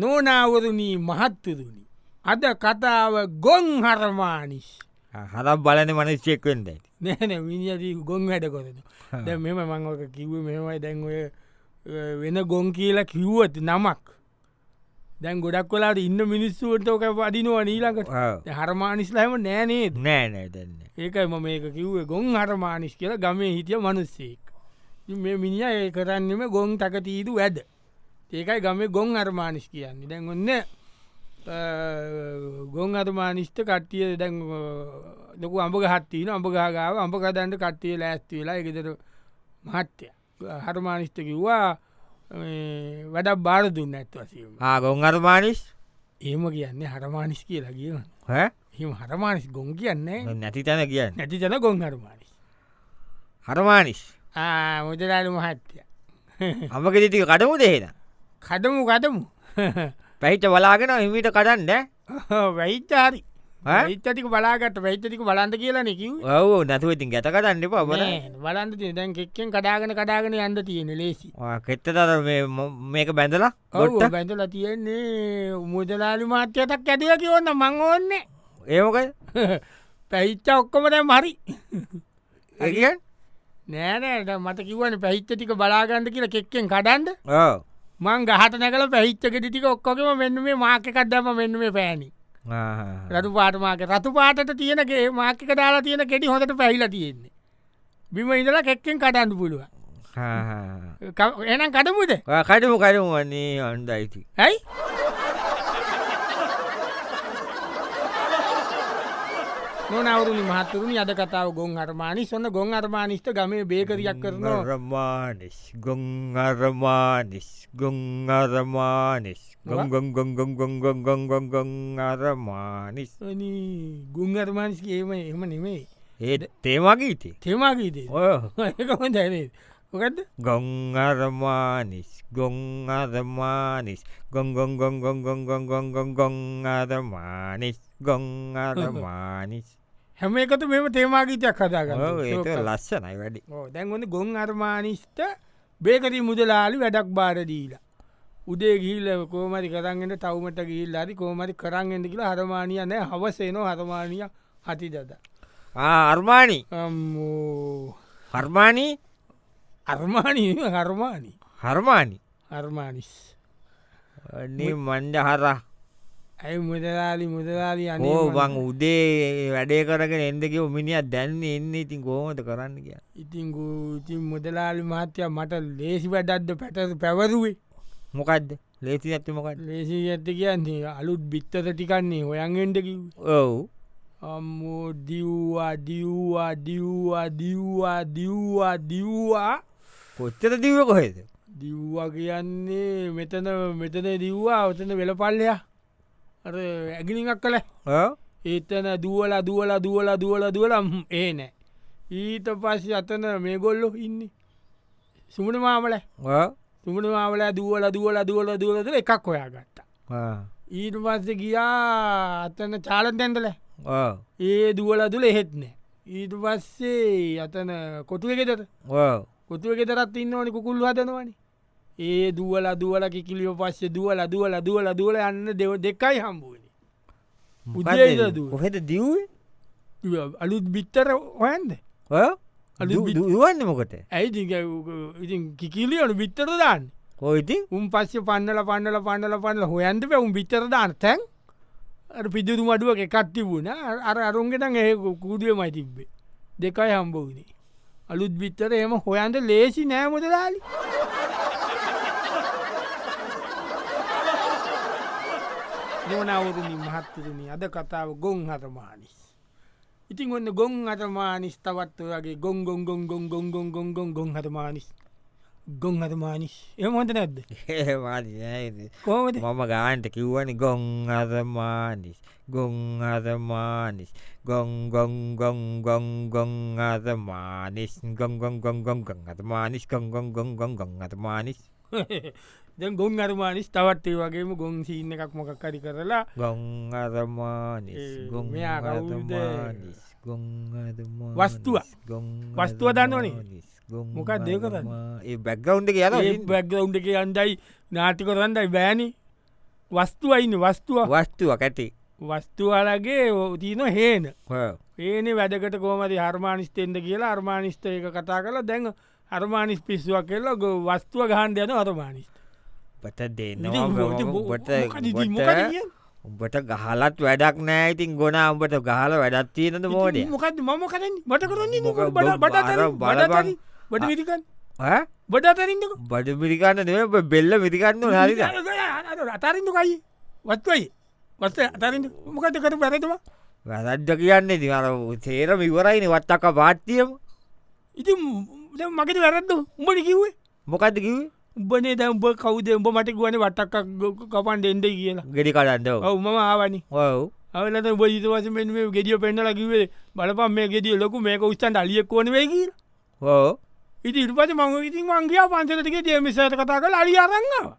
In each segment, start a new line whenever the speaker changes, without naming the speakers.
නෝනාවරණී මහත්තරුණි. අද කතාව ගොන් හරමානිස්
හරක් බලන මනස්්චෙක්වෙන්ද ඇති
නැන විනිි ගොන් වැඩ කොරන දැ මෙම මංවක කිව්ව මෙමයි දැන්ඔය වෙන ගොන් කියලා කිව්වත නමක් දැන් ගොඩක් කොලාට ඉන්න මිනිස්සුවටෝක පදිනවා නීලකට හරමානිස්ලාම නෑනේද
නෑ නෑ දෙන්න
ඒකයි ම මේක කිව්වේ ගොන් හරමානිස් කියලා ගමේ හිටිය මනුස්සෙක් ඉතින් මේ මිනිිය ඒ කරන්නෙම ගොන් තකතීදු ඇද ඒකයි ගමේ ගොන් අර්මානිස් කියන්නේ දැන් ඔන්න ගොන් අර්මානිෂ්ට කට්ටිය දැන් අ, ලොකු අඹග හත්තින අඹගාගාව අඹකදන්ට කට්ටිය ලෑස්තිවෙලා එකතර මහත්්‍යය හරමානිෂ්ට කිව්වා මේ වැඩක් බාර දුන්න ඇත්වසීම
ආගොන් අර්මානිස්
ඒම කියන්නේ හරමානිස් කියලා කියව හිම හරමානිස් ගොන් කියන්නේ
නැති තැන කියන්න
නැති ජන ගොන් හරමානිස්
හරමානිස්
මුදලාට මහත්්‍යය
අමක ටික කටමු දේෙන
කටමු කටමු
පැහිට බලාගෙන හිමිට කටන්න
වැයිතාරි ඉත්තටික බලාගට වැයිතටික බලන්ද කියලා නෙකිව
ඔව නැතුවඉතින් ගැත කටන්න එපා බල
බලන්ද තිය දැන් කෙක්කෙන් කඩාගෙන කඩාගෙන යන්න තියෙන ලේසි
කෙත්ත තර මේක බැඳලා
ඔව්
ගොට්ට
බැඳල තියෙන්නේ මුදලාලි මාත්‍යයටක් ඇතිල කියවන්න මං ඕන්නේ
ඒමකයි
පැහිච්ච ඔක්කොමට මරි
ඒකන්
නෑනෑට මත කිවන පැහිච්ච ටික බලාගන්න කියලා කෙක්කෙන් කඩන්ඩ
ඕ
මං ගහට නැකල පැහිච්චකට ටික ඔක්කොම මෙන්න මේ මාකකක්දම මෙන්න මේ පෑණි රතු පාටමාක රතු පාටට තියෙනගේ මාකික දාලා තියෙන කෙටි හොඳට පැහිලා තියෙන්නේ බිම ඉඳලා කෙක්කෙන් කටන්න පුළුව එනම් කටමුද
කටමු කරමු වන්නේ අන්ඩයිති
ඇයි නොනවරුණ මහතුරුණ අද කතාව ගොන් අර්මානි සොන්න ගොන් අර්මානිෂ්ට ගමේ බේකරයක් කරනවා
රමානිස් ගොං අරමානිස් ගොං අරමානිස් ගොං ගොං ගොං ගොං ගොං ගොං ගොං ගොං ගොං අරමානිස්
ගුන් අර්මානිස්ගේම එහම නෙමේ
ඒ තේමගීතේ
තෙමාගීදේ
ඔය
ඒකම දැනේ මොකක්ද
ගොං අරමානිස් ගොං අරමානිස් ගොං ගොං ගොං ගොං ගොං ගොං ගොං ගොං ගොං අරමානිස් ගොං අරමානිස්
හැම එකතු මෙම තේමාගීතයක්
ඔව්, ඒක
කදාගන්න
ලස්සනයි වැඩි
ඕ දැන් ඔන්න ගොන් අර්මානිස්ට බේකරී මුදලාලි වැඩක් බාරදීලා උදේ ගිල්ල කෝමරි කරන්ගෙන්ට තවමට ගිල් අරි කෝමරි කරන්ගෙන්ට කියලා හරමානිය නෑ හවසේනෝ හරමානිය හති දද
Ah, අර්මානි හර්මානී
අර්මාණී හර්මාණී
හර්මානි
අර්මානිස්
Oh, මණ්ඩ හර
ඇයි මුදලාලි මුදලාලි අනේ
ඕ
මං
බං උදේ වැඩේ කරගෙන එන්දක මිනිියත් දැන්න එන්න ඉතින් කෝමත කරන්න කිය
ඉතින් ගූ- ඉතින් මුදලාලි මහත්‍ය මට ලේසි වැඩක්ද පැට පැවරුවේ
මොකක්ද ලේසි ඇත්ත මොකට
ලේසි ඇත්ත කියන්නේ අලුත් බිත්තත ටිකන්නේ හොයන්ගෙන්ටකිව
ඔව්
අම්මෝ දිව්වා දිව්වා දිව්වා දිව්වා දිව්වා දිව්වා
කොච්චර දීව කොහෙද
දිව්වා කියන්නේ මෙතන මෙතන දිව්වා ඔතන වෙලපල්ලයා අර ඇගිනික් කළ ඒතන දුවලා දුවලා දුවලා දුවලා දුවලම් ඒ නෑ ඊට පස්ස අතන මේ ගොල්ලො ඉන්නේ සුමන මාමල තුමන මාමල දුවල දුවල දුවල දුවලද එකක් හොයා ගත්තා ඊට පස්ස ගියා අතන චාලතැන්දල ඒ දුවල දුල එහෙත් නෑ ඊට පස්සේ අතන කොටුව එකෙතට කොතුව ගෙතරත් ඉන්න ඕනි කුකුල් හදනවනි ඒ දුවල දුවල කිකිලියෝ පස්සේ දුවල දුවල දුවල දුවල යන්න දෙව දෙකයි හම්බුවනි උදේද දුව.
කොහෙද දව්ේ
අලුත් බිත්තර හොයන්ද අලු බිත්-
දුවන්න මොකට
ඇයි ඉති කිකිලියනු බිත්තර දාන්න
හෝයිති
උන් පස්සේ පන්නල පන්නල පන්නල පන්නල හොයන්ද පැ උම් බිත්තර දාන්න තැන් අර පිදුරු මඩුවක් එකත් තිබුණ අර අරුන්ගෙටන් ඒ කූඩුව මයි තිබ්බේ දෙකයි හම්බවුණේ අලුත් බිත්තර එම හොයන්ට ලේසි නෑමුදලාලි නොනවරුණින් මහත්තරුණි අද කතාව ගොන් හතමානිස් ඉතින් ඔන්න ගොන් අතමානිස් තවත් වගේ ගොන් ගොන් ගොන් ගොන් ගොන් ගොන් ගොන් ගොන් ගොන් හතමානිස් ගොන් අතමානිස් එමොට නැද්ද කෝමද
මම ගාන්ට කිව්වනි ගොං අදමානිස් ගොං අදමානිස් ගොං ගොං ගොං ගොං ගොං අදමානිස් ගොං ගොං ගොං ගොං ගොං අතමානිස් ගොං ගොං ගොං ගොං ගොං අතමානිස්
දැන් ගොන් අරමානිස් තවත්ඒ වගේම ගොන් සීන්න එකක් මොකක්කරි කරලා
ගොං අදමානිස්
ඒ,
ගොං
මෙයා කවුද?
අදමානිස් ගොං අදමානිස්
වස්තුව.
ගොං
වස්තුව දන්නවනේ.
අදමානිස්, ගොං
මොකක්ද ඒ කරන්නේ?
අදමා- ඒ බැක්ගවුන්් එක යන
බැක්ගවුන්් එක යන්දයි නාටික රන්ඩයි බෑනි වස්තුව අයින්න වස්තුව
වස්තුවක් ඇති
වස්තුවලගේ තියන හේන
ඔව්.
ඒන වැඩකට කෝමති හර්මානිස්තෙන්ද කියලා අර්මානිස්තයක කතා කළ දැන් අර්මානිස් පිස්සුවක් කෙල්ල වස්තුව ගහන්ඩ යන අර්මානිස්ත
උඹට දෙනවා උඹට උඹට- උඹට ගහලත් වැඩක් නෑ ඉතින් ගොනා උඹට ගහල වැඩත් තියෙනද මෝඩය
මොකද මම කරන්න බට
මොකද අර
කරන්න
බලපන්.
බට විරිකන්
ඈ?
බඩාතරින්දක
බඩු පිරිකන්න දෙ බෙල්ල පිරිකන්න හරිද
අතරින්දු කයි වත්වයි වස්ත අතරින්ද මොකද කර පැරතුවා
වැදද්ද කියන්නේ දිර තේරම ඉවරයින වත්තක්ක පාට්තියම
ඉති මකට වැරද්ද උඹට කිව්වේ
මොකක්ද කිව
උඹනේ දැම්බ කවුද උඹ මට ගුවන වටක් කපන් දෙෙන්ඩ කියලා
ගෙඩි කඩන්ඩව
ඔවුම ආවනි
ඔව
අවලට බජතවස මෙ ගෙඩිය පෙන්ඩල කිවේ බලපන් මේ ගෙඩිය ලොකු මේක උස්තන් අලියක් කෝනවේ කිය
ඕ
ඉති ඉල්පස මං ඉතින් වන්ගේ පන්සලටක දේමිසට කතා කළ අලි අරන්නවා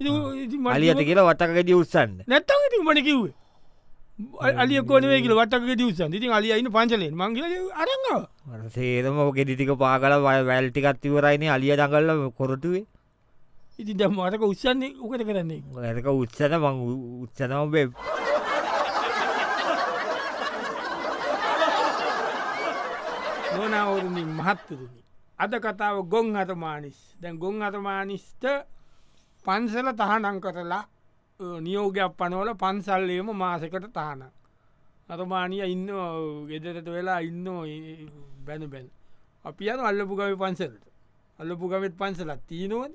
අලියට කියලා වටක ගෙඩි උත්සන්න
නැත්තම ඉති මට කිව්වේ අලිය කොනේ කියල වටක දවසන් ඉතින් අලියයින පංචලෙන් මංගල අරංගව
සේරම ගෙඩිටික පාගල වැල්ටිකත් ඉවරයින අලිය දඟල්ල කොරටුවේ
ඉතින් දැම් අටක උත්සන්නේ උකට කරන්නේ
ඇක උත්සන මං උත්සනම බේ
නොනවරුණින් මහත්තතුනි අද කතාව ගොන් අතමානිස් දැන් ගොන් අතමානිස්ට පන්සල තහනං කරලා අ, නියෝගයක් පනවල පන්සල්ලේම මාසකට තහනම් අතමානිය ඉන්න ගෙදරට වෙලා ඉන්න බැන බැන් අපි යන අල්ලපුගවි පන්සලට අල්ලපුගවෙත් පන්සලත් තිීනුවන්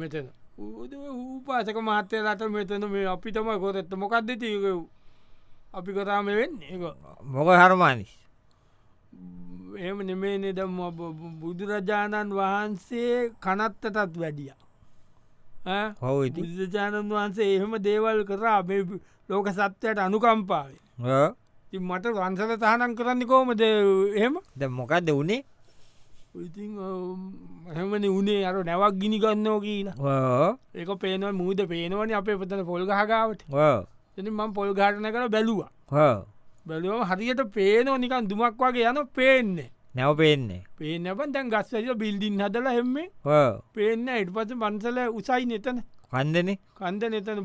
මෙතන ඌපාසක මහත්තයලට මෙතන මේ අපි තම කොතෙත්ත මොකක්ද තියක අපි කතාම වෙන්න ඒ
මොක හරමානිස්
එම නෙමේ නෙද බුදුරජාණන් වහන්සේ කනත්තටත් වැඩිය
හව ඉති
බුදුරජාණන් වහන්සේ එහෙම දේවල් කරා අපේ ලෝක සත්‍යයට අනුකම්පාවේ ති මට වන්සල තහනම් කරන්න කෝමද එහෙම
ද මොකක්ද වනේ
ඉතින් හැමන උනේ අර නැවක් ගිනි ගන්නෝ කියන ඒක පේනව මුූද පේනවන අපේ පතන පොල් ගහගාවට එ මං පොල් ගාටන කර බැලවා බැලුවම හරියට පේනෝ නිකන් දුමක් වගේ යන පේන්නේ
නැව පෙන්නේ
පේනපන් දැන් ගස්වැල බිල්ඩින් හදලා හෙම්මේ පේන්න එට පස පන්සල උසයි නතන
කන්දනේ
කන්ද නතන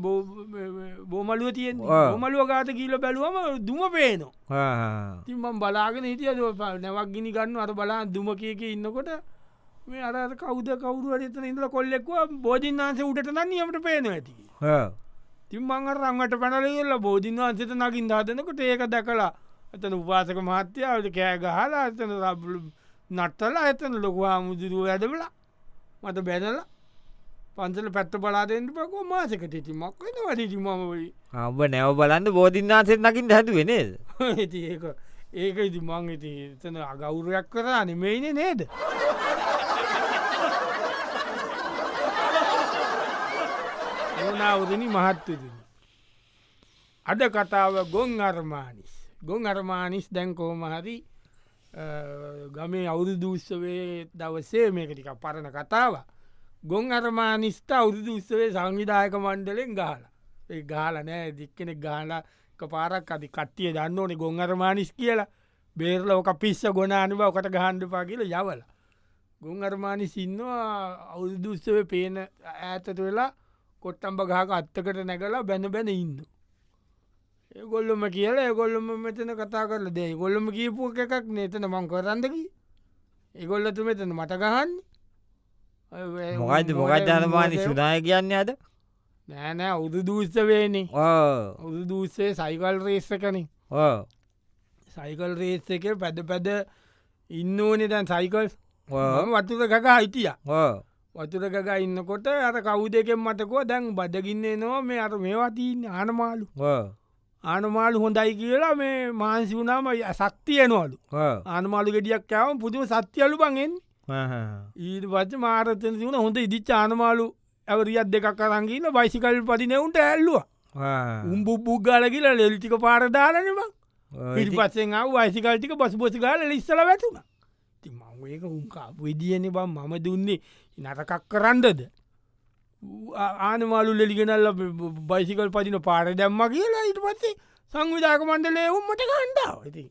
බෝමලුව තියෙන්
ආ.
බෝමලුව ගාත කියල බැලුවම දුම පේනවා තින්මම් බලාගෙන හිටිය නැවක් ගිනි ගන්න අර බලා දුම කියක ඉන්නකොට මේ අර අර කවුද කවුරුව එතන ඉඳල කොල්ලෙක්ව බෝධීන් වන්සේ උට නන්නීමට පේන ඇති තිම්මං අර රංගට පැනලගල්ල බෝධීන් වන්සත නකින් දාතනකොට ඒක දැකලා ඇතන උපාසක මහත්‍යාවට කෑ ගහලා ඇතන රබ්ලු නට්ටලා ඇතන ලොකවා මුදුරුව ඇදබලා මට බැනලා පන්සල පැත්ත බලාදෙන්ට පකෝ මාසකට ඉති මක්වෙන වැඩිටි මම වෙයි.
ඔබ නැව බලන්න බෝධින්නාසෙත් නකින් හැතු වෙනේද
ඉති ඒක ඒක ඉති මං ඉති එතන අගෞරයක් කරා නෙමෙයින නේද ඕනාවදනි මහත්තතින අද කතාව ගොන් අර්මානිස් ගොන් අර්මානිස් දැන්කෝමහරි ගමේ අවුරුදු උත්සවේ දවසේ මේක ටික පරණ කතාව ගොන් අර්මානිස්ට අවුරුදු උත්සවේ සංවිධායක මණ්ඩලෙන් ගාල ඒ ගාල නෑ දික්කෙන ගාල පාරක් අධි කට්ටිය දන්න ඕනේ ගොන් අර්මානිස් කියලා බේරල ඕක පිස්ස ගොන අනුව කට ගහන්ඩපා කියල යවල ගොන් අර්මානිස් ඉන්නවා අවුරුදු උත්සවේ පේන ඈතට වෙලා කොට්ටම්බ ගහක අත්තකට නැගලා බැන බැන ඉන්න. ඒගොල්ලොම කියලා ඒගොල්ලොම මෙතන කතා කරල දේ ගොල්ලොම කීපුුව එකක් නේතන මං කරන්දකි ඒගොල්ලතු මෙතන මට ගහන්න
මොකයිද මොකක් ජනමානි සුනාය කියන්න ඇද
නෑනෑ අවුදු දූෂවේනේ
ඕ
අවුදු දූසේ සයිකල් රේස්සකනින් සයිකල් රේස් එක පැද පැද ඉන්න ඕනේ දැන් සයිකල්
ඕ
වතුර ගක හිටිය වතුර ගක ඉන්නකොට අර කවු දෙකෙන් මතකෝ දැන් බදගින්නේ නවා මේ අර මේවාතිීන්න ආනමාලු ආනමාලු හොඳයි කියලා මේ මාන්සි වුනාම සක්තියනවලු ආනමාලු ගෙඩියක් කෑවම පුදුම සත්‍යලු බගෙන් ඊට පච්ච මාරතන වුණ හොඳ ඉදිච් ආනමාලු ඇවරිියත් දෙකක් කරංගීන බයිසිකල් පතිනවුන්ට ඇල්ලුව උම්බු පුද්ගලකිල ලෙල්ටික පාරදාලනවා පිරිපස්සෙන් ආව වයිසිකල්ටික බස් බොසි ගල ඉස්සල වැටුණ ති මංඒක උන්කා විදිියන බම් මම දුන්නේ නටකක් කරන්නද ආනමාලු ලෙලිගෙනල්ල බයිසිකල් පතින පාර දැම්ම කියලා ඉට පත්සේ සංවිධාක මන්ඩලේ උම්මට කණ්ඩාව ඇති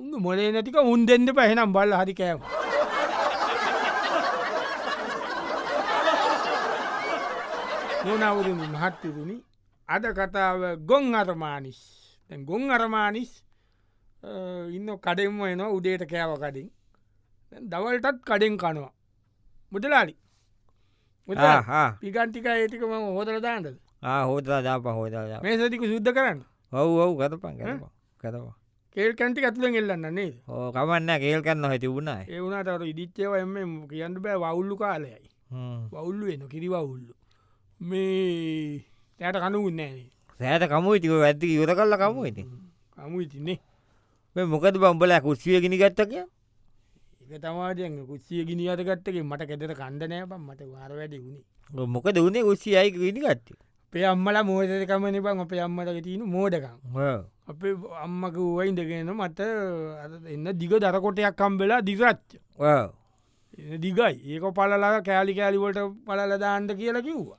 උන් මොලේ නැතික උන් දෙන්න පැහෙනම් බල්ල හරි කෑම නොනවුරුණි මහත්තිරුණි අද කතාව ගොන් අරමානිස් දැන් ගොන් අරමානිස් ඉන්න කඩෙන්ම එනවා උඩේට කෑව කඩින් දැන් දවල්ටත් කඩෙන් කනවා මුදලාලි පිකන්ටික ඒටිකම හෝදල දාන්නද
හෝදලා දාප හෝදලා
මේ සතික සුද්ධ කරන්න
ඔව් ඔව් ගතපන් කරවා කරවා
කේල් කැන්ටි ඇතුළෙන් එල්ලන්න නේද
ඕ කමන්න කේල් කන්න හැති වුණයි
ඒ වුණට ඉදිච්චේව එම කියන්න බෑ වවුල්ලු කාලයයි වවුල්ලු එන කිරිවවුල්ලු මේ තෑට කනුගන්නෑනේ
සෑත කමුයි තික ඇත්ති ඉවර කල්ල කමු ඉති
අමු ඉතින්නේ
මේ මොකද බම්බල කුස්සිය ගෙන ගත්තකය
එක තමාටයන් කුස්සිය ගිනිියත ගත්තක මට කෙතට කණ්ඩ නෑපම් මට වාර වැඩි වුණේ
මොකද උනේ කුස්සිය අයික ගෙන ගත්ත
අපේ අම්මල මෝදකමන බං අපේ අම්මට තියෙන මෝඩකම් අපේ අම්මක වුවයින්දගෙන මට අර එන්න දිග දරකොටයක් කම්බෙලා දිගරච්ච දිගයි ඒක පලලා කෑලි කෑලිවලට පලලදාන්ට කියලා කිව්වා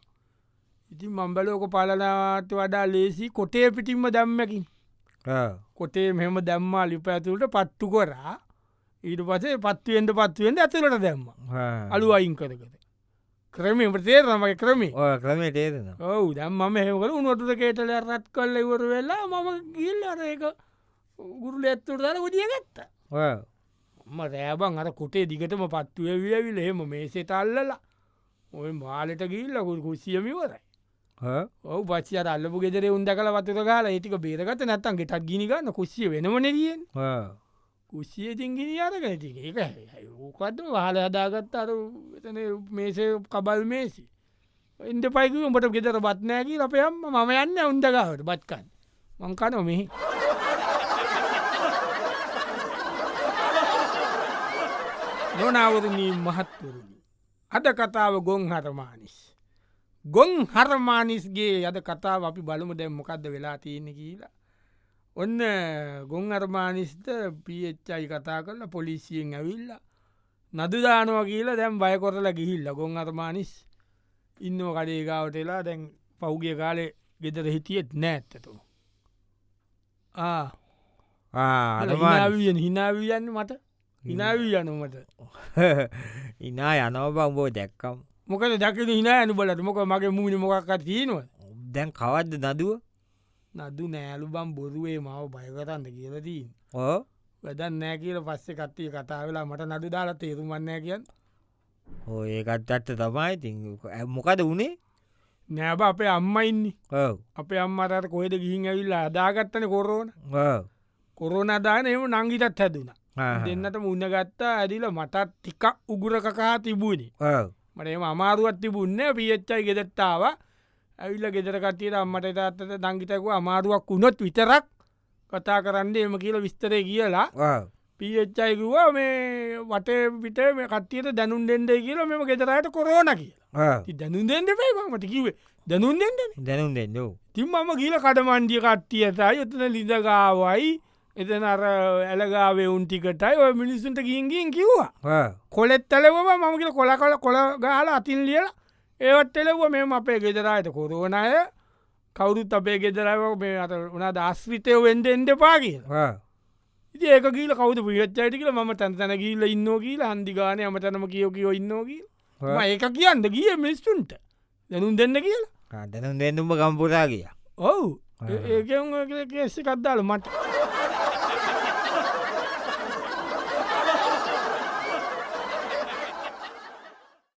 ඉතින් මම්බලෝක පලලාට වඩා ලේසි කොටේ පිටිම්ම දම්මකින් කොටේ මෙම දැම්මා ලිප ඇතුළට පත්තු කොරා ඊට පසේ පත්තුවෙන්ට පත්තුවෙන්ට ඇතුළට දැම්ම අලු අයින් කරකද ක්‍රමේ ප්‍රතේ තමයි ක්‍රමේ
ක්‍රමේ තේරෙන
ඔවු දම් ම හෙමකර උනොටට කේටල රත් කල්ල ඉවර වෙලා මම ගිල් අරක ගුරුල ඇත්තුර දර ගොඩිය ගත්ත ම රෑබන් අර කොටේ දිගටම පත්තුව වියවිල හෙම මේසේ තල්ලලා ඔය මාලට ගිල්ලකුල් කුසියමිවරයි ඔව පච්චි අල්ලපු ගෙදර උන්ද කල වත්තර කාලා ඒටික බේරගත නැත්තන් ගෙටත් ගිනිගන්න කුස්සිය වෙනමනරියෙන් කුස්සිය තිංගිනි අරග ති ඒක ඕකත්ම වාල හදාගත්ත අර එතන මේසේ කබල් මේසි එන්ට පයික උඹට ගෙතර බත්නෑකි අපයම්ම මම යන්න උන්දගාවට බත්කන්න මංකන මෙහි නොනවරණී මහත්තුරුණි අද කතාව ගොන් හරමානිස් ගොන් හරමානිස්ගේ යද කතාව අපි බලමු දැම් මොකක්ද වෙලා තියෙන කියලා ඔන්න ගොන් අර්මානිස්ට පිච්චයි කතා කරල පොලිසියෙන් ඇවිල්ල නදුදානවා කියලා දැම් බයකොරලා ගිහිල්ල ගොන් අර්මානිස් ඉන්න කඩේගාවටලා දැන් පෞගිය කාලේ ගෙදර හිටියෙත් නෑත්තතු අදමාවියෙන් හිනාවියන්න මට හිනාවී යනුමට
ඉනා යනව බම්බෝ දැක්කම්
මොකද දකින හිනා යනු බලට මොක මගේ මුණ මොකක් තියෙනවා
දැන් කවද්ද නදුව
නදු නෑලු බම් බොරුවේ මාව බයකරන්න කියලදී
ඕ
වැදන් නෑ කියල පස්සෙ කට්ටිය කතා වෙලා මට නඩු දාලා තේරුම්වන්නෑ කියන්
ඕ ඒකත් අත්ත තමයි ති මොකද වනේ
නෑබ අපේ අම්මයින්නේ අපේ අම්මරට කොහෙද ගිහින් ඇවිල්ල අදාගත්තන කොරෝන කොරෝන අදාන එම නංගිටත් හැදුන දෙන්නට මුන්න ගත්තා ඇදිල මටත් ටිකක් උගුර කකා තිබුණේ මට එම අමාරුවත් තිබුන්න පියච්චයි ගෙදත්තාව ඇවිල්ල ගෙදර කටියට අම්මට තාත්තට දංගිතකුව අමාරුවක් වුණොත් විතරක් කතා කරන්න එම කියල විස්තරය කියලා පියච්චයිකවා මේ වටේ පිට මේ කට්ටියට දැනුන් දෙෙන්ඩ කියල මෙම ගෙදරයට කොරෝන කියලා ඉතින් දැනුම් දෙෙන්ඩ පේමට කිවේ දැනුම් දෙෙන්ඩන
දැනුම් දෙන්න
තින් මම කියල කඩමන්ඩිය කට්ටියතයි එතන ලිදගාවයි එතන අර ඇලගාවේ උන්ටිකටයි ඔය මිනිස්සුන්ට ගින්ගින් කිව්වා කොලෙත් ඇලවම මම කියල කොල කල කොළ ගාල අතින් ලියල ඒවත් එලව මෙම අපේ ගෙදරායට කොරුවනය කවුරුත් අපේ ගෙදරව මේ අත වනා දස්විතය වෙන්ඩ එන්ඩ පා කියල ඉති ඒක කියීල කවුද පිියච්චයිටිකල ම තැන්තැන කියීල ඉන්න කියීල හන්දිගානය අමතනම කියෝ කියෝ ඉන්නෝකී ඒක කියන්න ගිය මිස්ටුන්ට දැනුම් දෙන්න කියලා
දැනුම් දෙන්නුම ගම්පුරා කිය
ඔවු ඒකෙසි කද්දාල මට